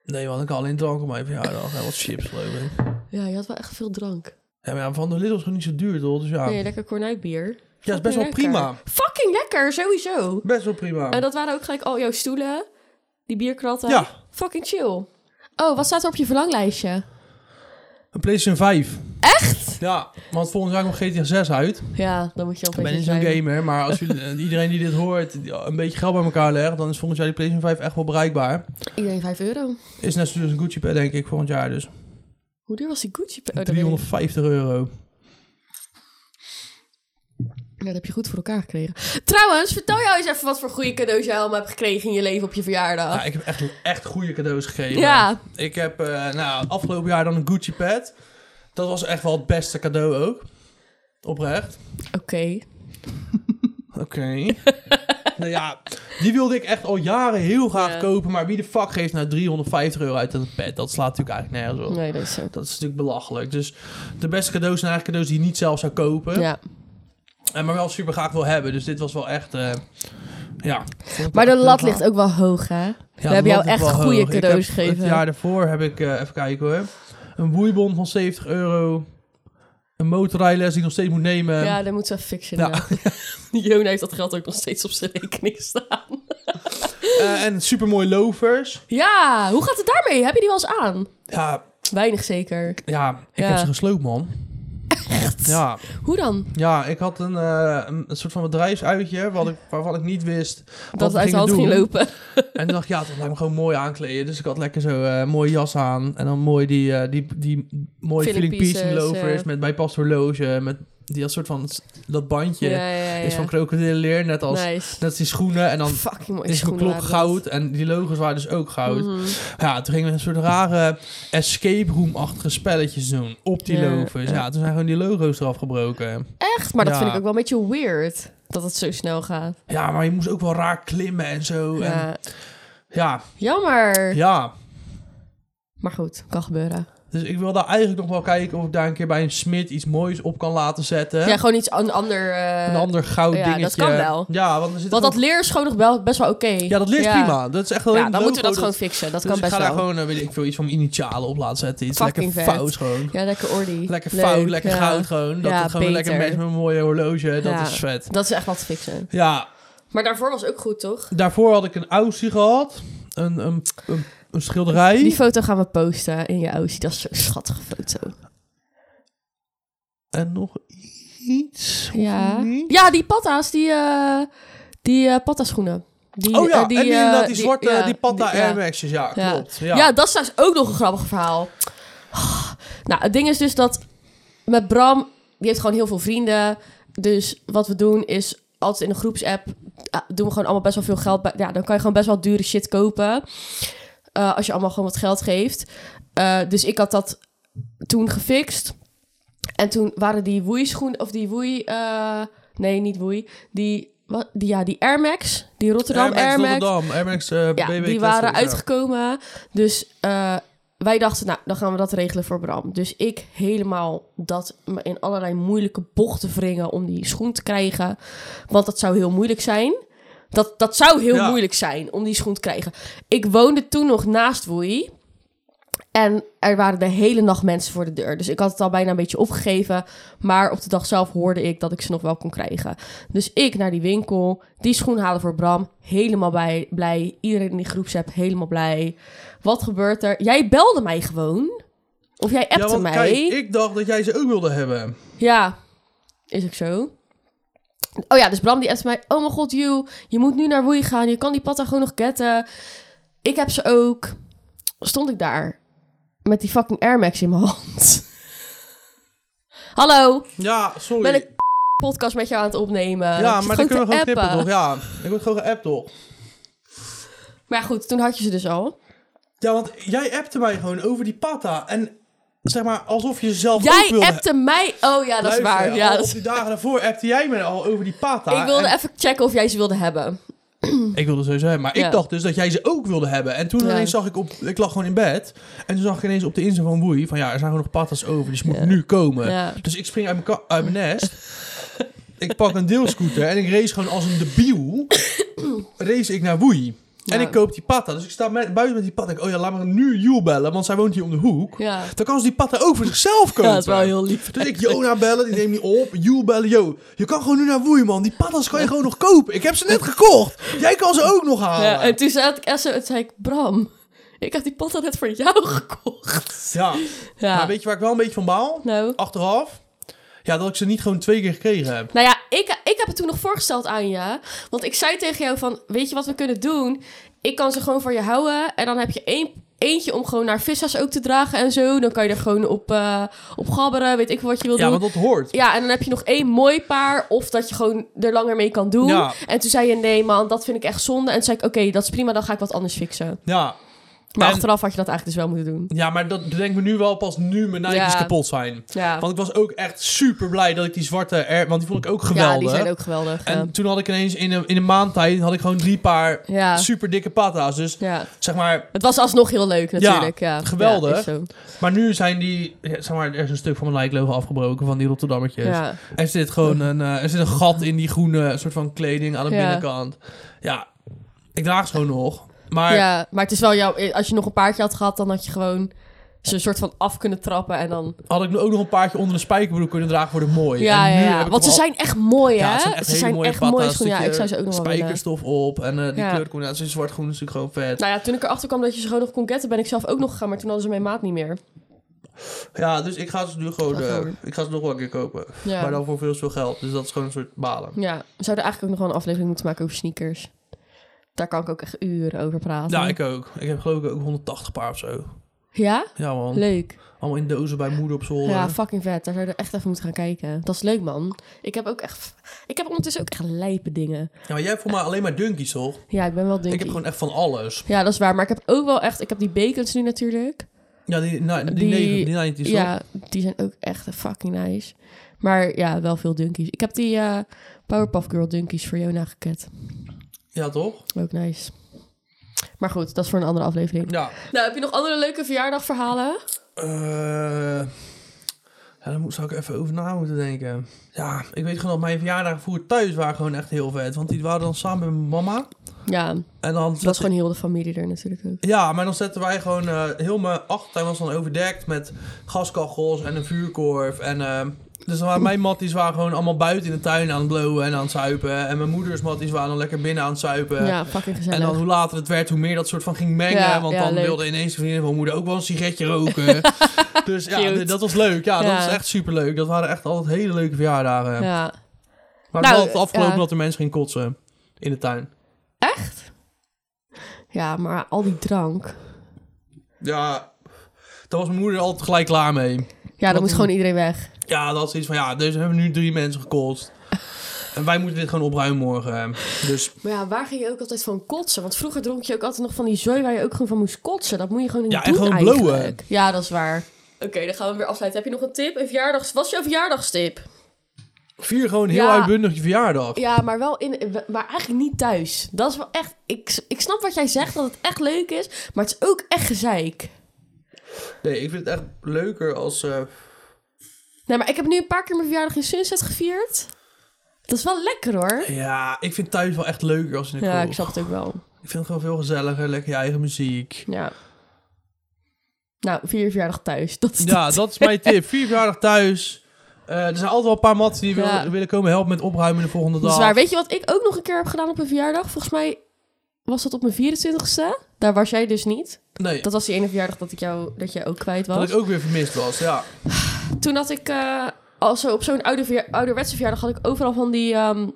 B: Nee, want ik had alleen drank op mijn verjaardag en wat chips, geloof ik.
A: Ja, je had wel echt veel drank.
B: Ja, maar ja, van de Lidl is gewoon niet zo duur, toch? Dus ja,
A: Nee, lekker kornuitbier.
B: ja is best wel
A: lekker.
B: prima.
A: Fucking lekker, sowieso.
B: Best wel prima.
A: En Oh, dat waren ook gelijk al jouw stoelen. Die bierkratten.
B: Ja.
A: Fucking chill. Oh, wat staat er op je verlanglijstje?
B: Een PlayStation 5.
A: Echt?
B: Ja, want volgend jaar komt GTA 6 uit.
A: Ja, dan moet je al
B: Ik
A: een
B: ben
A: beetje
B: niet zo'n
A: zijn.
B: gamer, maar als jullie, iedereen die dit hoort die een beetje geld bij elkaar legt, dan is volgend jaar die PlayStation 5 echt wel bereikbaar.
A: Iedereen 5 euro.
B: Is net zoals een Gucci pad, denk ik, volgend jaar dus.
A: Hoe duur was die Gucci? Oh, dat, Oh, weet ik.
B: 350 euro.
A: Ja, dat heb je goed voor elkaar gekregen. Trouwens, vertel jou eens even wat voor goede cadeaus jij allemaal hebt gekregen in je leven op je verjaardag.
B: Ja, ik heb echt, echt goede cadeaus gegeven.
A: Ah. Ja.
B: Ik heb eh, nou, afgelopen jaar dan een Gucci pad. Dat was echt wel het beste cadeau ook. Oprecht.
A: Oké.
B: Oké. nou ja, die wilde ik echt al jaren heel graag
A: Ja.
B: kopen. Maar wie de fuck geeft nou 350 euro uit aan een pad? Dat slaat natuurlijk eigenlijk nergens op.
A: Nee, dat is zo.
B: Dat is natuurlijk belachelijk. Dus de beste cadeaus zijn eigenlijk cadeaus die je niet zelf zou kopen.
A: Ja.
B: En maar wel super graag wil hebben. Dus dit was wel echt... eh, ja.
A: Maar de
B: Echt
A: lat
B: heel
A: ligt ook wel hoog, hè?
B: Ja,
A: We hebben jou
B: dat lag ik
A: echt
B: wel
A: goede
B: hoog. Ik
A: cadeaus
B: heb
A: gegeven.
B: Het jaar daarvoor heb ik, eh, even kijken hoor, een boeibon van 70 euro, een motorrijles die ik nog steeds moet nemen.
A: Ja, dat moeten we even fixen.
B: Ehm, Ja.
A: Ja. Jona heeft dat geld ook nog steeds op zijn rekening staan.
B: eh, en supermooi lovers.
A: Ja, hoe gaat het daarmee? Heb je die wel eens aan?
B: Ja,
A: Weinig zeker.
B: ja ik
A: Ja.
B: heb ze gesloopt man.
A: Echt?
B: Ja,
A: Hoe dan?
B: ja ik had een, eh, een een soort van bedrijfsuitje wat ik, waarvan ik niet wist
A: Dat het
B: Wat
A: uit de
B: ging
A: hand
B: het
A: ging
B: doen?
A: lopen.
B: En toen dacht ik, ja, dat lijkt me gewoon mooi aankleden. Dus ik had lekker zo eh mooie jas aan. En dan mooi die, eh, die, die mooie
A: Filling
B: filling piece
A: pieces,
B: loafers
A: ja.
B: met bijpast horloge. Met die dat soort van, dat bandje
A: Ja, ja, ja.
B: is van krokodillenleer. Net als,
A: nice.
B: net als die schoenen. En dan
A: Fucking mooie
B: is mijn
A: schoenen
B: klok
A: waren dat.
B: goud. En die logos waren dus ook goud.
A: Mhm.
B: Ja, toen gingen we een soort rare escape room-achtige spelletjes doen. Op die
A: Ja,
B: loafers.
A: ja.
B: Ja, toen zijn gewoon die logo's eraf gebroken.
A: Echt? Maar dat
B: Ja.
A: vind ik ook wel een beetje weird. Dat het zo snel gaat.
B: Ja, maar je moest ook wel raar klimmen en zo. En,
A: Ja.
B: ja,
A: Jammer.
B: ja.
A: Maar goed, kan gebeuren.
B: Dus ik wil daar eigenlijk nog wel kijken of ik daar een keer bij een smid iets moois op kan laten zetten.
A: Ja, gewoon iets an ander... eh,
B: een ander goud
A: ja, dat
B: dingetje.
A: kan wel.
B: Ja, want er zit
A: Want
B: ook-
A: dat leer is gewoon nog wel best wel oké.
B: ja, dat leert prima. Dat is echt alleen
A: Ja,
B: het
A: dan moeten we dat
B: logo
A: gewoon fixen. Dat
B: Dus
A: kan
B: ik
A: best
B: ga daar
A: wel.
B: gewoon, eh, weet ik veel, iets van mijn initialen op laten zetten. Iets
A: Fucking
B: lekker
A: vet.
B: fout gewoon.
A: Ja, lekker ordy.
B: Lekker
A: Leuk,
B: fout, lekker
A: ja.
B: goud gewoon. Dat
A: Ja,
B: het gewoon weer lekker
A: beter.
B: matcht met een mooie horloge. Dat
A: Ja.
B: is vet.
A: Dat is echt wat te fixen.
B: Ja,
A: Maar daarvoor was ook goed, toch?
B: daarvoor had ik een Aussie gehad. Een, een, een, een schilderij.
A: Die foto gaan we posten in je OC. Dat is zo'n schattige foto.
B: En nog iets. of
A: Ja.
B: niet?
A: Ja, die patta's, die, eh die eh patta-schoenen. Die,
B: Oh ja,
A: eh,
B: en die,
A: eh,
B: inderdaad, die zwarte,
A: ja,
B: die Pata
A: ja.
B: Air Max's. Ja,
A: Ja.
B: klopt.
A: Ja. dat is trouwens ook nog een grappig verhaal. Nou, het ding is dus dat met Bram, die heeft gewoon heel veel vrienden. Dus wat we doen is altijd in een groepsapp eh, doen we gewoon allemaal best wel veel geld. bij- Ja, dan kan je gewoon best wel dure shit kopen. eh, als je allemaal gewoon wat geld geeft. Eh, dus ik had dat toen gefixt. En toen waren die woeischoenen, of die woei... eh, nee, niet woei. Die, wat, die, ja, die Air Max, die Rotterdam Air Max
B: Rotterdam, Air Max eh,
A: ja,
B: BB
A: die
B: Classic,
A: waren
B: ja.
A: uitgekomen. Dus eh, wij dachten, nou, dan gaan we dat regelen voor Bram. Dus ik helemaal dat me in allerlei moeilijke bochten wringen om die schoen te krijgen. Want dat zou heel moeilijk zijn. Dat, dat zou heel
B: Ja.
A: moeilijk zijn om die schoen te krijgen. Ik woonde toen nog naast Woei. En er waren de hele nacht mensen voor de deur. Dus ik had het al bijna een beetje opgegeven. Maar op de dag zelf hoorde ik dat ik ze nog wel kon krijgen. Dus ik naar die winkel, die schoen halen voor Bram. Helemaal bij, blij. Iedereen in die groepsapp helemaal blij. Wat gebeurt er? Jij belde mij gewoon. Of jij
B: ja,
A: appte
B: want
A: mij.
B: Kijk, ik dacht dat jij ze ook wilde hebben.
A: Ja, is ook zo. Oh ja, dus Bram die appte mij... Oh mijn god, you, je moet nu naar Woei gaan. Je kan die patta gewoon nog getten. Ik heb ze ook. Stond ik daar met die fucking Air Max in mijn hand. Hallo,
B: Ja, sorry.
A: ben ik podcast met jou aan het opnemen.
B: ja,
A: Ik zit
B: maar dan kunnen we
A: te
B: gewoon knippen
A: appen.
B: toch? Ja, ik word gewoon geappt toch?
A: Maar ja, goed, toen had je ze dus al.
B: Ja, want jij appte mij gewoon over die pata. En zeg maar, alsof je zelf ook
A: Jij
B: wilde...
A: appte mij... Oh ja, dat is
B: Luister,
A: waar.
B: al
A: Ja, dat
B: Op
A: is-
B: die dagen daarvoor appte jij me al over die pata.
A: Ik wilde
B: En-
A: even checken of jij ze wilde hebben.
B: Oh, Ik wilde sowieso hebben, maar
A: Ja.
B: ik dacht dus dat jij ze ook wilde hebben. En toen
A: Ja.
B: ineens zag ik op... Ik lag gewoon in bed. En toen zag ik ineens op de Insta van Woei van... Ja, er zijn gewoon nog patas over, dus ze moet nu komen.
A: Ja.
B: Dus ik spring uit mijn, ka- uit mijn nest. ik pak een deelscooter en ik race gewoon als een debiel. race ik naar Woei. En
A: Ja.
B: ik koop die patta. Dus ik sta met, buiten met die patta. Ik, oh ja, laat maar nu Joel bellen, want zij woont hier om de hoek.
A: Ja.
B: Dan kan ze die patta ook voor zichzelf kopen.
A: Ja, dat is wel heel lief.
B: Dus ik Jona bellen, die neemt niet op. Joel bellen, yo. Je kan gewoon nu naar Woei, man. Die patas kan je gewoon nog kopen. Ik heb ze net gekocht. Jij kan ze ook nog halen.
A: Ja, en toen zat ik echt zo en zei ik, Bram, ik heb die patta net voor jou gekocht.
B: Ja.
A: Ja,
B: Maar weet je Oh. waar ik wel een beetje van baal?
A: nou.
B: Achteraf. Ja, dat ik ze niet gewoon twee keer gekregen heb.
A: Nou ja, ik, ik heb het toen nog voorgesteld aan je. Want ik zei tegen jou van, weet je wat we kunnen doen? Ik kan ze gewoon voor je houden. En dan heb je één, eentje om gewoon naar vissers ook te dragen en zo. Dan kan je er gewoon op, eh, op gabberen, weet ik veel wat je wil
B: Ja,
A: doen.
B: want dat hoort.
A: Ja, en dan heb je nog één mooi paar. Of dat je gewoon er langer mee kan doen.
B: Ja.
A: En toen zei je, nee man, dat vind ik echt zonde. En toen zei ik, oké, dat is prima, dan ga ik wat anders fixen.
B: Ja.
A: Maar
B: En-
A: achteraf had je dat eigenlijk dus wel moeten doen.
B: Ja, maar dat bedenk me nu wel pas nu mijn Nike's
A: Ja.
B: kapot zijn.
A: Ja,
B: Want ik was ook echt super blij dat ik die zwarte Air... Want die vond ik ook geweldig.
A: ja die zijn ook geweldig.
B: En
A: ja.
B: toen had ik ineens in een, in een maand tijd had ik gewoon drie paar
A: eh. Ja.
B: super dikke pata's. Dus
A: ja.
B: zeg maar...
A: Het was alsnog heel leuk natuurlijk. Ja,
B: geweldig.
A: Ja, is zo.
B: Maar nu zijn die... ja, Zeg maar, er is een stuk van mijn Nike logo afgebroken van die Rotterdammetjes.
A: Ja.
B: Er zit gewoon een, eh, er zit een gat in die groene soort van kleding aan de
A: Ja.
B: binnenkant. Ja, ik draag ze gewoon nog. Maar ja,
A: ja, maar het is wel jouw... Als je nog een paardje had gehad, dan had je gewoon zo'n soort van af kunnen trappen en dan...
B: had ik nu ook nog een paardje onder een spijkerbroek kunnen dragen, wordt het mooi.
A: Ja,
B: En
A: ja,
B: nu
A: ja.
B: heb ik
A: Want ze
B: hem al-
A: zijn echt mooi, hè?
B: Ja, het zijn echt
A: ze
B: hele
A: zijn
B: mooie
A: echt
B: patta's,
A: mooie schoenen. Ja, ik zou
B: stukje
A: ze ook nog wel willen.
B: Spijkerstof op en eh, die
A: Ja.
B: kleurcombinatie zwart-groen is natuurlijk gewoon vet.
A: Nou ja, toen ik erachter kwam dat je ze gewoon nog kon getten, ben ik zelf ook nog gegaan. Maar toen hadden ze mijn maat niet meer.
B: Ja, dus ik ga ze nu gewoon...
A: Ga
B: eh,
A: gewoon.
B: ik ga ze nog wel een keer kopen.
A: Ja.
B: Maar dan voor veel veel geld. Dus dat is gewoon een soort balen.
A: ja, we zouden eigenlijk ook nog wel een aflevering moeten maken over sneakers. Daar kan ik ook echt uren over praten.
B: Ja, Nou, ik ook. Ik heb geloof ik ook 180 paar of zo.
A: Ja?
B: Ja, man.
A: Leuk.
B: Allemaal in dozen bij moeder op zolder.
A: Ja, fucking vet. Daar zouden we echt even moeten gaan kijken. Dat is leuk, man. Ik heb ook echt... Ik heb ondertussen ook echt lijpe dingen.
B: Ja, maar Nou, jij hebt voor mij alleen maar dunkies, toch?
A: Ja, ik ben wel
B: Ik
A: dinky.
B: heb gewoon echt van alles.
A: Ja, dat is waar. Maar ik heb ook wel echt... Ik heb die bacons nu natuurlijk.
B: Ja, die, na, die,
A: Die-
B: negen- die 90's, toch?
A: ja, die zijn ook echt fucking nice. Maar ja, wel veel dunkies. Ik heb die eh, Powerpuff Girl dunkies voor Jona geket.
B: Ja, toch?
A: Ook nice. Maar goed, dat is voor een andere aflevering.
B: Ja.
A: Nou, heb je nog andere leuke verjaardagverhalen?
B: Eh, ja, daar moet- zou ik even over na moeten denken. Ja, ik weet gewoon dat mijn verjaardagen vroeger thuis waren gewoon echt heel vet. Want die waren dan samen met mijn mama.
A: Ja, het
B: En dan
A: was gewoon heel de familie er natuurlijk ook.
B: Ja, maar dan zetten wij gewoon... eh, heel mijn achtertuin was dan overdekt met gaskachels en een vuurkorf. En, eh, dus dan waren mijn matties waren gewoon allemaal buiten in de tuin aan het blowen en aan het zuipen. En mijn moeders matties waren dan lekker binnen aan het zuipen.
A: ja, fucking
B: En
A: gezellig.
B: dan hoe later het werd, hoe meer dat soort van ging mengen.
A: Ja,
B: want
A: ja,
B: dan
A: leuk.
B: wilde ineens de vriendin van moeder ook wel een sigaretje roken. dus ja,
A: Cute.
B: d- dat was leuk. Ja, dat
A: Ja.
B: was echt superleuk. Dat waren echt altijd hele leuke verjaardagen.
A: Ja.
B: Maar
A: Nou,
B: wel het afgelopen
A: ja.
B: dat de mensen gingen kotsen in de tuin.
A: Echt? Ja, maar al die drank.
B: Ja, daar was mijn moeder altijd gelijk klaar mee.
A: Ja,
B: Wat
A: dan moet
B: een-
A: gewoon iedereen weg.
B: Ja, dat is iets van ja, dus hebben we nu drie mensen gekotst. En wij moeten dit gewoon opruimen morgen. Dus
A: Maar ja, waar ging je ook altijd van kotsen? Want vroeger dronk je ook altijd nog van die zooi waar je ook gewoon van moest kotsen. Dat moet je gewoon niet
B: Ja, en
A: doen
B: gewoon
A: eigenlijk.
B: blowen.
A: Ja, dat is waar. Oké, dan gaan we weer afsluiten. Heb je nog een tip? Een verjaardags... Wat is jouw verjaardagstip?
B: vier gewoon heel
A: Ja.
B: uitbundig je verjaardag.
A: Ja, maar wel in... Maar eigenlijk niet thuis. Dat is wel echt... Ik, ik snap wat jij zegt, dat het echt leuk is. Maar het is ook echt gezeik.
B: Nee, ik vind het echt leuker als... eh,
A: Nee, maar ik heb nu een paar keer mijn verjaardag in Sunset gevierd. Dat is wel lekker hoor.
B: ja, ik vind thuis wel echt leuker als in de
A: Ja,
B: kroeg.
A: ik snap het ook wel.
B: Ik vind het gewoon veel gezelliger, lekker je eigen muziek.
A: Ja. Nou, vier je verjaardag thuis. Dat is
B: Ja, dat is mijn tip. Vier verjaardag thuis. Eh, er zijn altijd wel een paar matten die wil-
A: Ja.
B: willen komen helpen met opruimen de volgende
A: dat
B: dag.
A: is waar. Weet je wat ik ook nog een keer heb gedaan op een verjaardag? Volgens mij was dat op mijn 24ste. Daar was jij dus niet.
B: Nee, dat,
A: Dat was die ene verjaardag dat ik jou dat jij ook kwijt was.
B: ik ook weer vermist was, ja.
A: Toen had ik eh, al zo op zo'n oude verja- ouderwetse verjaardag had ik overal van die ehm,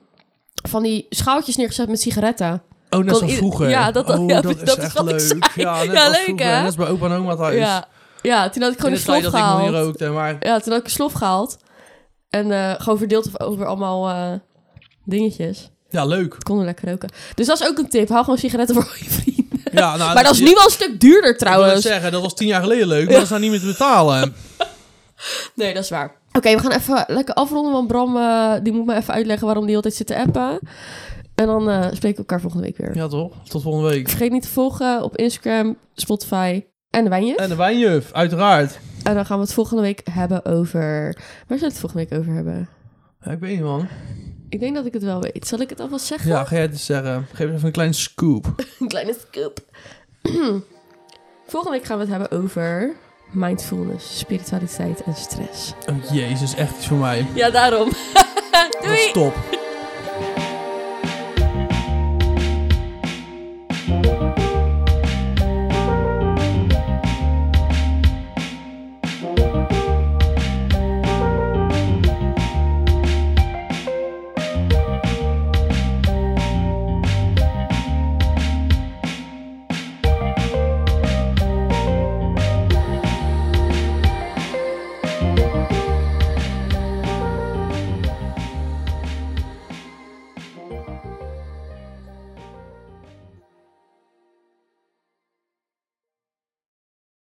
A: van die schaaltjes neergezet met sigaretten.
B: Oh,
A: Kon
B: net zoals
A: ieder-
B: vroeger.
A: Ja, dat-
B: oh,
A: ja,
B: dat, is
A: dat is
B: echt
A: wat ik
B: leuk.
A: zei.
B: Ja, net
A: Ja,
B: als
A: leuk,
B: vroeger.
A: hè?
B: Net als bij opa en oma thuis.
A: Ja. ja, toen had ik
B: In
A: gewoon
B: de
A: een slof
B: tijd dat ik nog niet
A: gehaald.
B: rookte, maar...
A: Ja, toen had ik een slof gehaald. En eh, gewoon verdeeld over allemaal eh, dingetjes.
B: Ja, leuk.
A: Het kon er lekker roken. Dus dat is ook een tip. Hou gewoon sigaretten voor je vrienden.
B: Ja, nou,
A: maar dat is nu wel een stuk duurder
B: Ik wil net
A: trouwens.
B: zeggen, dat was tien jaar geleden leuk, maar dat is nou niet meer te betalen.
A: Nee, dat is waar. Oké, we gaan even lekker afronden. Want Bram eh, die moet me even uitleggen waarom die altijd zit te appen. En dan eh spreken we elkaar volgende week weer.
B: Ja, toch? Tot volgende week.
A: Vergeet niet te volgen op Instagram, Spotify en de wijnje.
B: En de wijnjuf, uiteraard.
A: En dan gaan we het volgende week hebben over... Waar zullen we het volgende week over hebben?
B: Ja, ik weet niet, man.
A: Ik denk dat ik het wel weet. Zal ik het alvast zeggen?
B: Ja, ga jij het eens zeggen. Geef even een kleine scoop.
A: Een kleine scoop. Volgende week gaan we het hebben over mindfulness, spiritualiteit en stress.
B: Oh, jezus, echt iets voor mij.
A: Ja, daarom.
B: Dat
A: Doei!
B: is top.